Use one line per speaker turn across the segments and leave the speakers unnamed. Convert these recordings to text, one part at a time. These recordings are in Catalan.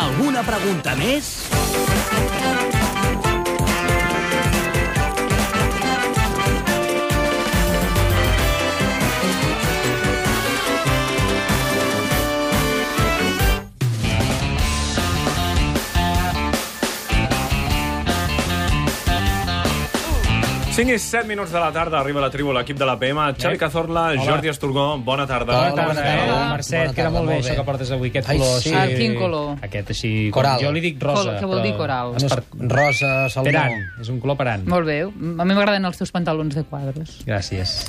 Alguna pregunta més?
Cinc i set minuts de la tarda arriba la tribu, l'equip de la PM, Xavi Cazorla, Jordi Esturgó, bona tarda.
Bona tarda,
Bona tarda.
eh? Mercè,
Bona
et queda
tarda,
molt bé,
molt
això
bé.
que portes avui, aquest
Ai,
color.
sí.
així-
Ah,
quin color?
Aquest així...
Coral.
Jo li dic rosa.
Col- que vol dir coral.
Es per...
Rosa, salmó.
Perant, és un color perant.
Molt bé. A mi m'agraden els teus pantalons de quadros.
Gràcies.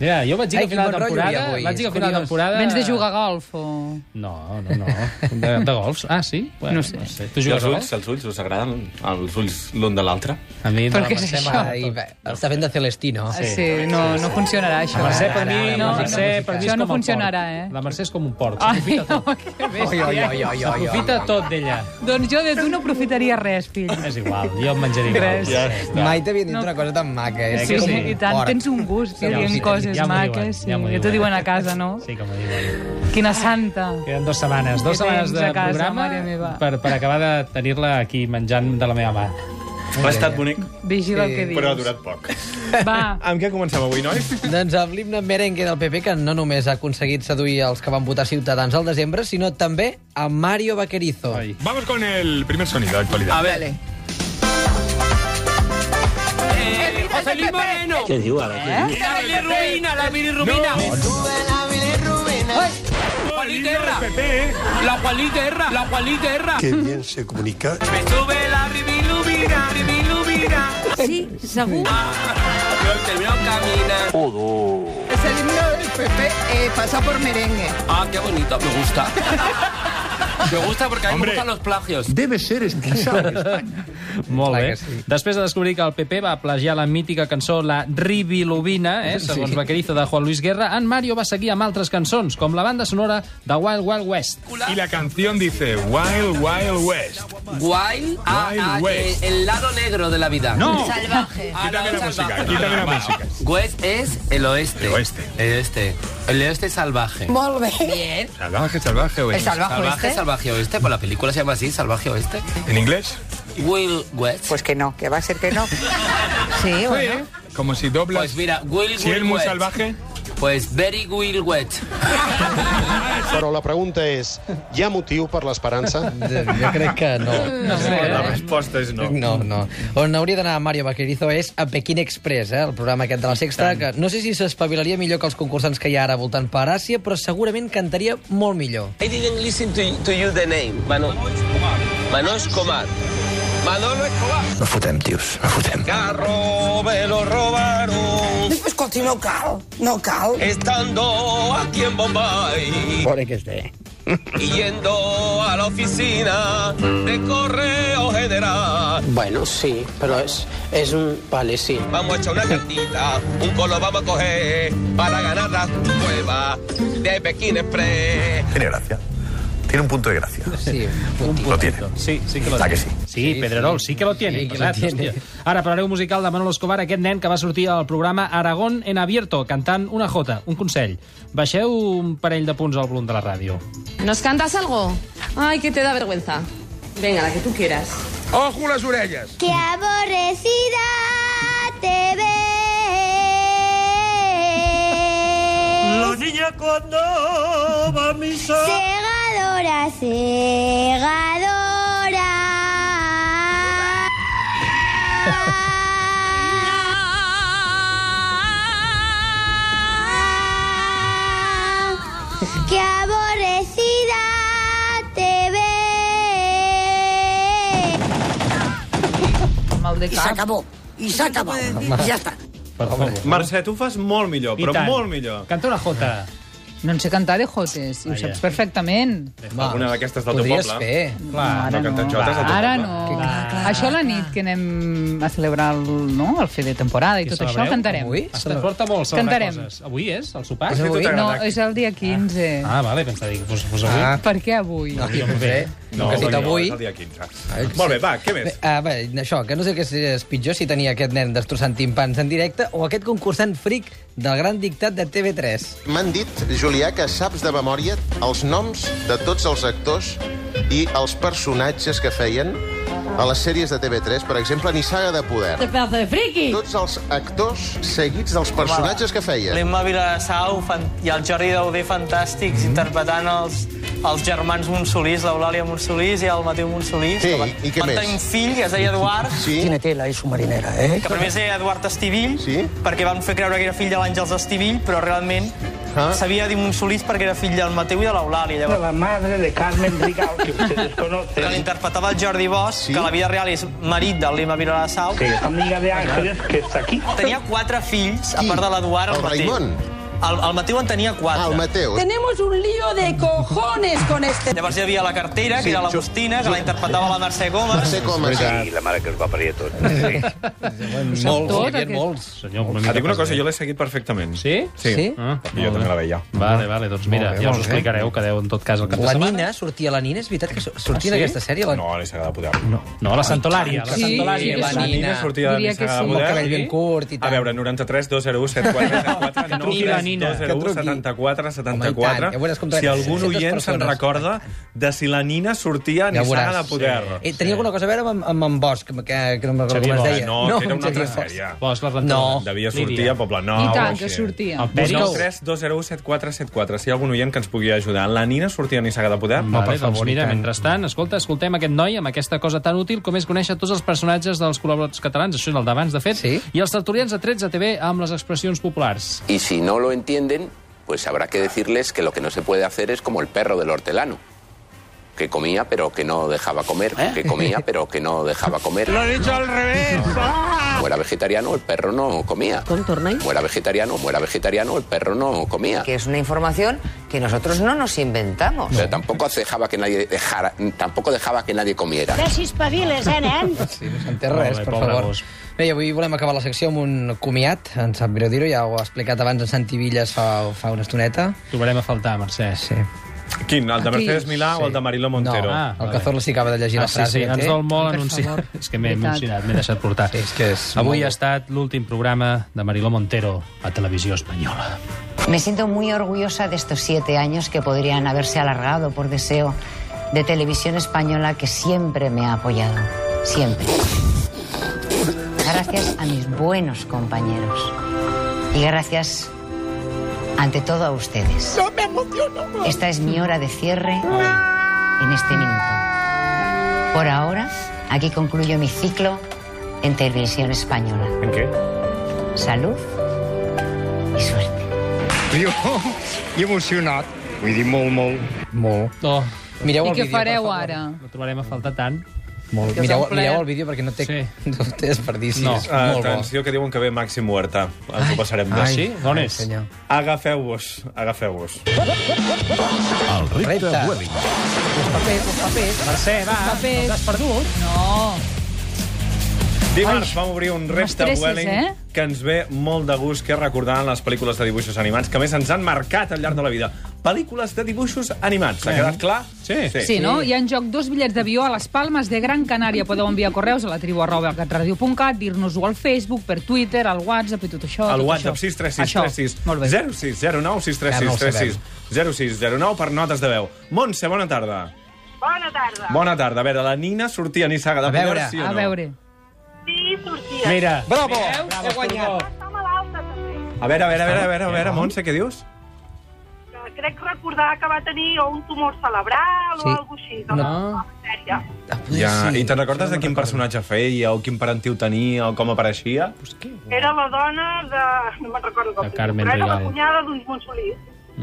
Mira, jo vaig dir
Ai,
que a final de
quin bon rotllo hi ha
temporada...
avui,
Vaig dir que a final
és
de
curiós.
temporada...
Vens de jugar a golf o...
No, no, no. De, de golf? Ah, sí? Bueno,
No sé.
Tu
I
jugues
els
a
ulls,
golf?
els ulls, us agraden els ulls l'un de l'altre?
A mi
Per
no.
què és
Estem
això?
ahí, bé, Està fent de Celestino.
Ah,
Sí, no, no funcionarà, això. eh?
La Mercè, per mi,
Ara, ara,
la
ara,
Mercè, per mi és
això no
com el
funcionarà,
porc.
eh?
La Mercè és com un porc.
Ah.
Ai, no, que
Oi,
bé.
oi, oi, oi, oi, oi.
S'aprofita tot d'ella.
Doncs jo de tu no aprofitaria res, fill.
És igual, jo em menjaré igual.
Gràcies.
Mai t'havia dit
No.
una cosa tan maca. eh?
Sí,
que sí.
i tant, tens un gust, sí,
Ja ho
dient
sé,
coses
ja m'ho diuen,
maques.
ja m'ho
sí, ja t'ho
diuen.
diuen a casa, no?
Sí, com ho diuen.
Quina santa.
Queden dues setmanes. Dues
Que
setmanes
tens a
de
casa,
programa
mare meva.
per, per acabar de tenir-la aquí menjant de la meva mà.
Ha estat bonic,
Vigila el que dius.
però ha durat poc.
Va,
Amb què comencem avui, nois?
Doncs amb l'himne merengue del PP, que no només ha aconseguit seduir els que van votar Ciutadans al desembre, sinó també a Mario Vaquerizo.
Ai.
Vamos con el primer sonido de actualidad.
ver.
José Luis Moreno. ¿Qué digo ahora? La bilirrubina, la bilirrubina. Juanita Erra.
¿eh?
La Juanita Erra. La Juanita Erra.
que bien se comunica.
Me sube la bilirrubina, bilirrubina.
Sí, segur.
Ah, Yo termino caminando.
Es el himno del PP eh, pasa por merengue.
Ah, qué bonito. Me gusta. Me gusta porque a mí me
Hombre.
gustan los plagios.
Molt
Clar
bé.
que sí.
Després de descobrir que el PP va plagiar la mítica cançó La Ribilubina, eh, segons
Sí.
Vaquerizo de Juan Luis Guerra, en Mario va seguir amb altres cançons, com la banda sonora de Wild Wild West.
Y la canción dice Wild Wild West.
Guay. Ah,
Wild
ah, eh,
West.
el lado negro de la vida.
¡No!
Salvaje.
Ah,
Quítame
no,
la música,
salvaje.
quítame la música.
West es el oeste.
El oeste.
El oeste. El oeste salvaje.
Molt bé.
Bien.
Salvaje, salvaje
El
West.
salvaje,
Salvaje,
oeste.
salvaje oeste. Pues la película se llama así, salvaje oeste.
¿En inglés?
Will West. Pues,
Pues que no, que va a ser que no. Sí, bueno.
Como si doblas.
Pues mira, Will
Si
Will
es muy
West.
salvaje.
Pues Very Will West.
Però la pregunta és, hi ha motiu per l'esperança?
Jo crec que no.
no sé,
La
eh?
resposta és no.
No, no. On hauria d'anar Mario Vaquerizo és a Pekín Express, eh, el programa aquest de la Sexta, que no sé si s'espavilaria millor que els concursants que hi ha ara voltant per Àsia, però segurament cantaria molt millor.
I didn't listen to, to you the name. Mano, Manolo Escobar. Manolo Escobar.
No fotem, tios, no fotem.
Carro me lo robaron
Pues escolti, no cal, no cal.
estando aquí en Bombay.
Pobre que esté.
y yendo a la oficina de correo general.
Bueno, sí, pero es, es un... Vale, sí.
Vamos a echar una cartita, un colo vamos a coger para ganar la cueva de Pekín Express.
Tiene gracia. Tiene un punto de gracia.
Sí,
Lo tiene.
Sí, sí que lo
Ah,
tiene.
que sí?
Sí,
Sí,
Pedrerol,
sí.
sí que lo tiene.
Sí que lo
pesat,
tiene.
hòstia. Ara, parlareu musical de Manolo Escobar, aquest nen que va sortir al programa Aragón en Abierto, cantant una jota. Un consell, baixeu un parell de punts al volum de la ràdio.
¿Nos cantas algo? Ay, que te da vergüenza. Venga, la que tú quieras.
¡Ojo las orellas!
Que aborrecida te ves. Los niños cuando va mi Segadora, segadora. Que aborrecida te ves.
Mal de
Y se
cap.
acabó. Y se acabó. Y ya está.
Per favor.
Mercè, tu ho fas molt millor,
I
però
tant.
molt millor.
Canta una jota.
No en sé cantar de jotes, i ho
Vaja.
saps perfectament.
Alguna d'aquestes del teu
podries
poble.
Fer.
Clar,
Ara
no canten
no.
jotes al teu
Ara
poble.
no.
Clar,
Això a la nit que anem a celebrar el, no, el fer de temporada i
Què
tot
celebreu?
això, cantarem.
Avui?
Es transporta molt celebrar
Cantarem.
coses. Avui és, el sopar?
És avui?
No, és el dia 15.
Ah, vale, pensava dir que fos, fos avui.
Ah.
Per què avui?
No, jo no sé. no, que cita avui.
és el dia 15. Molt bé, va, què més?
Ah, bé, això, que no sé què és- és pitjor, si tenia aquest nen destrossant timpans en directe o aquest concursant fric del gran dictat de TV3.
M'han dit, Julià, que saps de memòria els noms de tots els actors i els personatges que feien a les sèries de TV3, per exemple, Nissaga de Poder.
¡Qué pedazo de friki!
Tots els actors seguits dels personatges que feien.
L'Emma Vilassau fan- i el Jordi Daudé fantàstics, interpretant els, els germans Monsolís, l'Eulàlia Monsolís i el Mateu Monsolís.
Sí,
que van-
i què
van
més?
tenir un fill, que es deia Eduard,
Sí?
tela és submarinera, eh? Que primer es deia Eduard Estivill,
Sí.
perquè van fer creure que era fill de l'Àngels Estivill, però realment
Ah.
s'havia dit Monsolís perquè era fill del Mateu i de l'Eulàlia. Llavors,
La madre de Carmen Rigau, que ustedes
que
conocen,
l'interpretava el Jordi Bosch,
Sí.
que a la vida real és marit de l'Emma Vilassau.
que es amiga de Ángeles, que está aquí.
Tenia quatre fills, a
Qui?
part de l'Eduard,
El
el, Mateu.
Raimon?
El, el Mateu en tenia quatre.
Ah, el Mateu.
Tenemos un lío de cojones con este.
Llavors hi havia la cartera, que
Sí,
era l'Agustina, que la interpretava la Mercè
No
Gomes.
sé com es
veritat.
diu.
Molts,
tot,
hi havia
aquest.
molts.
Senyor, una
Et
mica
dic una
pas
cosa,
bé.
jo l'he seguit perfectament.
Sí?
Sí.
Sí?
Ah,
I jo també la veia.
Vale, vale, doncs mira,
Molt bé,
ja us ho
molt bé.
explicareu, que deu en tot cas el cap de
La
setmana.
Nina, sortia la Nina, és veritat que sortia
Ah,
en
sí?
aquesta sèrie? La...
No, a l'Issaga de Poder. No.
No, la Santolària. La
Sí,
Santolària.
la
La Nina
Nina.
sortia de
Diria que
l'Issaga
sí.
de
Amb el cabell
Poder.
ben curt i
A
tal.
veure, 93 201 7474
truqui la Nina.
201
Que truqui.
74
Home, i
74
tant, ja veuràs com
Si
tracta
algun
700
oient se'n
persones.
recorda de si la Nina sortia a
Ja ho
Nissaga de
veuràs.
Poder.
Eh, tenia alguna cosa a veure amb, amb en Bosch, que, que no me'n recordo
Xavier
com es
Bosch.
deia.
No, que era una altra
Xavier Bosch.
sèrie.
Bosch, doncs la
No.
Devia
Lídia.
sortir a Poble Nou.
I tant,
o
que
així.
sortia.
El Peris.
93 201 7474 Si hi ha algun oient que ens pugui ajudar. La Nina sortia a Nissaga de Poder?
Mm.
Vale,
per favor,
doncs mira,
i tant.
mentrestant, escolta, escoltem aquest noi amb aquesta cosa tan útil com és conèixer tots els personatges dels col·laboradors catalans, això és el d'abans, de fet,
Sí.
i els tertulians de 13 TV amb les expressions populars.
Y si no lo entienden, pues habrá que decirles que lo que no se puede hacer es como el perro del hortelano, que comía pero que no dejaba comer, que comía pero que no dejaba comer. Lo he dicho al revés. Como era vegetariano, el perro no comía.
¿Con Tornay?
Como era vegetariano, como era vegetariano, el perro no comía.
Que és una informació que nosaltres no nos inventamos.
O sea, tampoco dejaba que nadie dejara, tampoco dejaba que nadie comiera.
Sí, no s'entén res,
Molt bé,
per
pobre
favor.
gos.
Bé, i avui volem acabar la secció amb un comiat, em sap greu dir-ho, ja ho ha explicat abans en Santi Villas fa, fa una estoneta.
Trobarem a faltar, Mercè.
Sí.
Quin? El de Mercedes Milà o el de Marilo Montero?
No,
Ah,
ah, el
vale.
Cazorla sí acaba de llegir
Ah,
la
sí,
frase. eh?
sí,
que
ens
té.
dol molt
Per
anunciar.
favor.
És que m'he
Veritat.
emocionat, m'he deixat portar.
Sí, és que és
Avui
molt-
ha estat l'últim programa de Mariló Montero a Televisió Espanyola.
Me siento muy orgullosa de estos siete años que podrían haberse alargado por deseo de televisión española que siempre me ha apoyado. Siempre. Gracias a mis buenos compañeros. Y gracias, ante todo, a ustedes. ¡No me emociono! Esta es mi hora de cierre en este minuto. Por ahora, aquí concluyo mi ciclo en televisión española.
En què?
Salud y suerte.
Jo, i emocionat. Vull dir, molt, molt.
Molt.
Oh,
Mireu
I
el
què
vídeo, per
fareu
favor.
ara?
no trobarem a faltar tant.
Molt.
Que us
Mireu,
han
mireu
plaert.
el vídeo perquè no té,
Sí.
no té desperdicis.
No.
No.
Ah,
Molt bo.
Atenció, que diuen que ve Màxim Huerta. Ens ho passarem bé.
Ai, sí? On
ai,
és?
senyor.
Agafeu-vos, agafeu-vos.
Repte.
Papers, els papers.
Mercè, va,
Papers.
no t'has perdut.
No.
Dimarts vam obrir un repte
m'estresses,
Welling
eh?
que ens ve molt de gust, que és recordar les pel·lícules de dibuixos animats que més ens han marcat al llarg de la vida. Pel·lícules de dibuixos animats. S'ha quedat clar?
Sí.
Sí, no? Hi ha en joc dos bitllets d'avió a les Palmes de Gran Canària. Podeu enviar correus a la tribu arroba catradio.cat, dir-nos-ho al Facebook, per Twitter, al WhatsApp i tot això.
El
tot
WhatsApp
això.
63636
Això, molt bé.
0609 63636 0609 per notes de veu. Montse, bona tarda.
Bona tarda.
Bona tarda. A veure, la Nina sortia a Nissaga de
A
Poder,
veure,
sí o no?
A veure.
Sí, sortia.
Mira,
Bravo!
Veus? He guanyat.
Està malalta, també.
A veure, a veure, a veure, a veure, a veure Montse, què dius?
Que Crec recordar que va tenir o un tumor cerebral
Sí.
o alguna cosa així. doncs, No.
No.
Sèria.
Ah, potser
Ja,
sí.
I te'n recordes
Això
de
no
quin
me'n recordo.
personatge feia, o quin parentiu tenia, o com apareixia?
Era la dona de... No me'n recordo com.
De Carmen
Però era la
Rigau.
cunyada d'un Monsolís.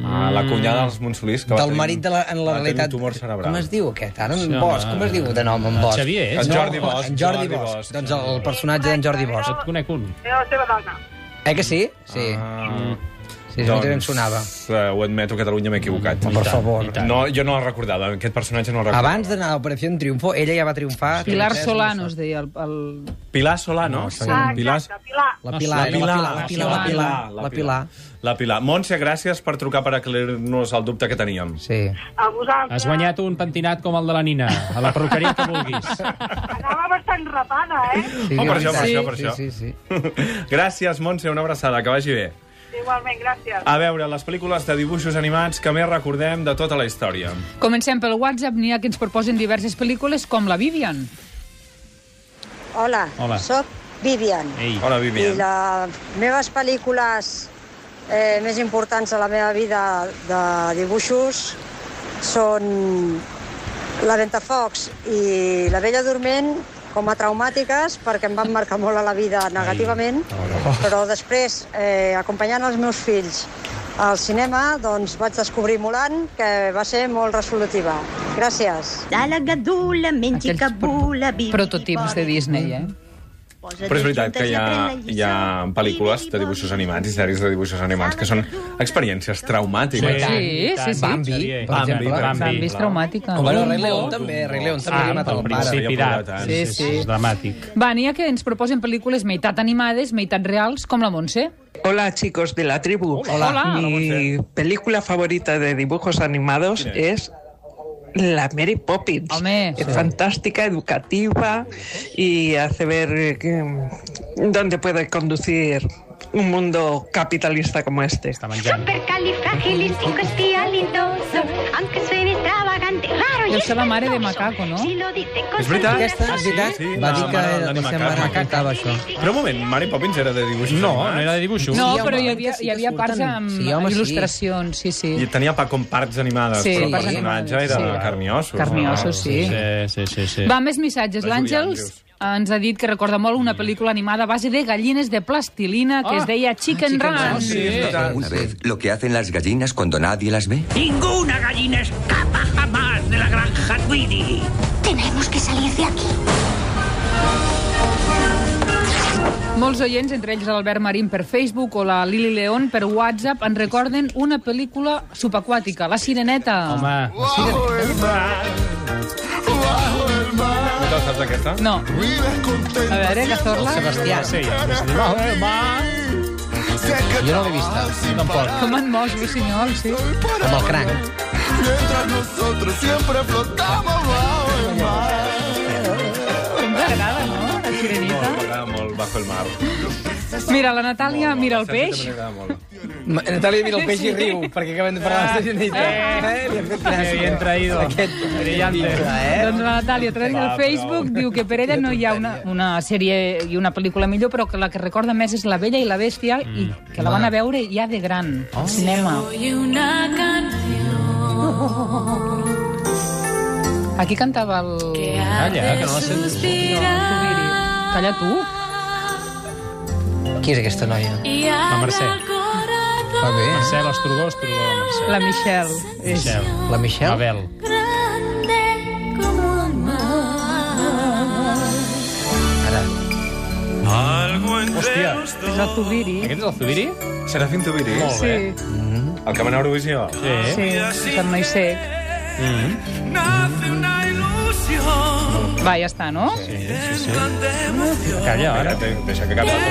Ah, la cunyada dels Monsolís. Que va
Del
tenir-
marit de la, en la
va tenir
realitat...
un tumor cerebral.
Com es diu aquest? Ara,
Sí,
en
home.
Bosch, com es diu de nom, en
El
Bosch?
Xavier, eh? és?
En Jordi
No,
Bosch,
En Jordi,
Jordi
Bosch.
Bosch.
Doncs el personatge d'en Jordi Bosch.
Et conec un.
Era la seva dona.
Eh que sí? Sí. Ah. Sí, doncs... a mi també em sonava.
eh, ho admeto, Catalunya m'he equivocat.
Per favor.
No, jo no el recordava, aquest personatge no el recordava.
Abans d'anar a Operació en Triunfo, ella ja va triomfar.
Pilar
Francesc,
Solano es deia el... el...
Pilar Solano.
No, això
Ah,
Pilar... Pilar... la
La Pilar,
Pilar,
la Pilar, la Pilar, la Pilar.
La Pilar. Montse, gràcies per trucar per aclarir-nos el dubte que teníem.
Sí.
A vosaltres.
Has guanyat un pentinat com el de la Nina, a la perruqueria que vulguis.
Anava bastant rapada, eh?
Oh, per això, per
sí,
això, per
sí,
això.
Sí, sí,
gràcies, Montse, una abraçada, que vagi bé.
Igualment, gràcies.
A veure, les pel·lícules de dibuixos animats que més recordem de tota la història.
Comencem pel WhatsApp, n'hi ha que ens proposen diverses pel·lícules, com la Vivian.
Hola,
Hola.
sóc Vivian.
Ei.
Hola,
I
Vivian.
les Eh, meves pel·lícules eh, més importants a la meva vida de dibuixos són La Ventafocs i La Vella Dorment com a traumàtiques perquè em van marcar molt a la vida negativament, però després, eh, acompanyant els meus fills al cinema, doncs vaig descobrir Mulan, que va ser molt resolutiva. Gràcies.
La la gadula, mengi
Aquells
cabula, bibi...
Prototips de Disney, eh?
Mm-hmm.
Però és veritat que hi ha, hi ha pel·lícules de dibuixos animats i sèries de dibuixos animats que són experiències traumàtiques.
Sí.
Sí, sí, sí.
Bambi, per
Bambi,
exemple.
Bambi.
S'han vist traumàtica.
O bueno, Rei
Un
León
molt.
també, Rei León també li
Ah,
mata
pel
el pare.
principi
Ja podrà
d'art.
tant.
Sí,
eh? Sí,
sí.
sí.
És dramàtic.
Va, n'hi ha que ens proposen pel·lícules meitat animades, meitat reals, com la Montse.
Hola chicos de la tribu.
Hola. Hola.
Mi película favorita de dibujos animados es la Mary Poppins.
Home.
Es fantástica, educativa y hace ver eh, que- dónde puede conducir un mundo capitalista como este.
Està menjant.
Supercalifragilisticoespialidoso, aunque suene extravagante, raro y
Deu ser la mare de
espantoso.
Macaco, no?
Si lo dice con
És veritat?
Aquesta, és veritat,
Sí, sí,
va
la
dir que
mare del
era,
Dani
la seva
Macaco.
mare cantava això.
Però un moment, Mary Poppins era de dibuixos
No, no
animats?
era de dibuixos.
No,
home,
però hi
que
havia,
sí
hi
que
havia parts
surten.
amb
Sí, home, sí.
il·lustracions, sí, sí.
I tenia pa com parts animades,
Sí,
però el
parts
personatge
animades,
era
sí.
sí. carniossos.
Carniosos, sí.
Sí, sí, sí. sí.
Va, més missatges.
La Julia
L'Àngels
Andrews.
ens ha dit que recorda molt una pel·lícula animada a base de gallines de plastilina que
Ah,
es deia Chicken
Chicken
Run.
Run, sí.
és veritat.
Una vez lo que hacen las gallinas cuando nadie las ve.
Ninguna gallina escapa jamás de la granja Tweedy.
Tenemos que salir de aquí.
Molts oients, entre ells l'Albert Marín per Facebook o la Lili León per WhatsApp, en recorden una pel·lícula subaquàtica, La Sireneta.
Home,
Bajo el mar, bajo el mar,
Tu saps aquesta?
No.
vives contento.
A veure, Cazorla.
Sebastià.
sí.
Jo no l'he vista.
Com en mos, Rossinyol, sí.
Amb el cranc.
Mientras nosotros siempre flotamos bajo el mar.
Ens agrada, no? La Sirenita.
Molt, m'agrada molt Bajo el mar.
Mira la Natàlia, mira el
Saps que també
peix.
m'agrada molt.
Ma- Natàlia mira el peix i riu, perquè acabem de parlar de Sirenita.
Eh,
Eh, li ha fet
Que bien traído.
Aquest
Brillante.
Doncs la Natàlia, a través del Facebook, diu que per ella no hi ha una, una sèrie i una pel·lícula millor, però que la que recorda més és La vella i la bèstia,
Mm.
i que la van a veure ja de gran,
Oh.
al cinema. Aquí cantava el...
Calla, eh, que no la sento.
Tubiri. Calla tu.
Qui és aquesta noia?
La Mercè.
Va bé, eh?
Mercè, l'Ostrogó, Ostrogó, la Mercè.
La Michelle. És...
Michel.
La Michelle?
Abel.
Ara.
Hòstia,
És el Tubiri.
aquest és el Zubiri?
Serafín Tubiri,
Molt
Sí,
bé. eh?
el que va anar a Eurovisió.
Sí.
sí. És el noi sec.
Mm.
Va, ja està, no?
Sí, sí, sí. Calla,
Ara,
ara.
te- deixa que acabi el top.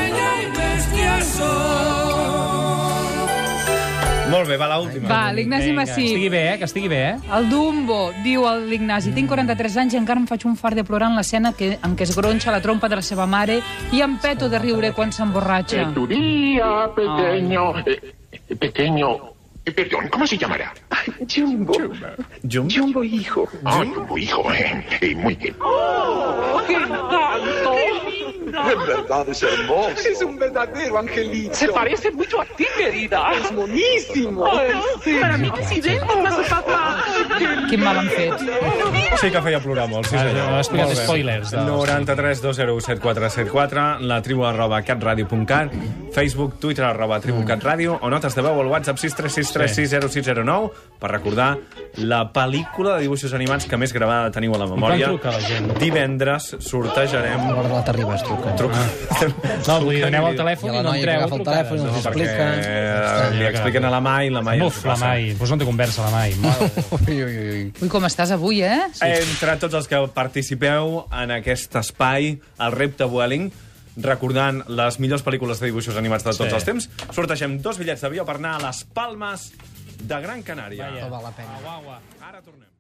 Molt bé, va l'última.
Va, l'Ignasi
Vinga, Que estigui
Massí.
bé, eh? Que estigui bé, eh?
El Dumbo, diu el l'Ignasi, tinc 43 anys i encara em faig un far de plorar en l'escena que, en què es gronxa la trompa de la seva mare i em peto de riure quan s'emborratxa.
Tu día, pequeño. eh, eh, pequeño. eh, perdón, ¿cómo se llamará?
Jumbo,
Jum?
Jumbo hijo.
Ah, tu hijo. eh, eh, muy bien.
En verdad es hermoso. Es un verdadero angelito. Se parece mucho a ti, querida. Es monísimo. Para mí es
¿eh?
idéntico a su papá.
Quin mal han fet.
Sí que feia plorar molt, sí
Ara,
senyor.
Ah, no, has explicat
Molt bé.
spoilers doncs. dels-
93 201 7474, la tribu arroba catradio.cat, Facebook, Twitter
Mm.
arroba tribu catradio, o notes de veu al WhatsApp 636 360 609 per recordar la pel·lícula de dibuixos animats que més gravada teniu a la memòria.
trucar, la gent?
Divendres sortejarem...
Guarda, t'arribes, truca.
Ah. Truca.
No, vull dir, aneu al telèfon i,
I
no
la noia que
entreu.
agafa el telèfon i no us explica.
Eh, li expliquen a la Mai, la Mai...
Buf, la Mai. Pues no té conversa, la Mai.
Ui, ui, ui.
Ui, com estàs avui, eh?
Sí. Entre tots els que participeu en aquest espai, el repte Welling, recordant les millors pel·lícules de dibuixos animats de tots
Sí.
sí. els temps, sortegem dos bitllets d'avió per anar a les Palmes de Gran Canària.
Vaja.
Tot
val la pena.
Guagua.
Ara tornem.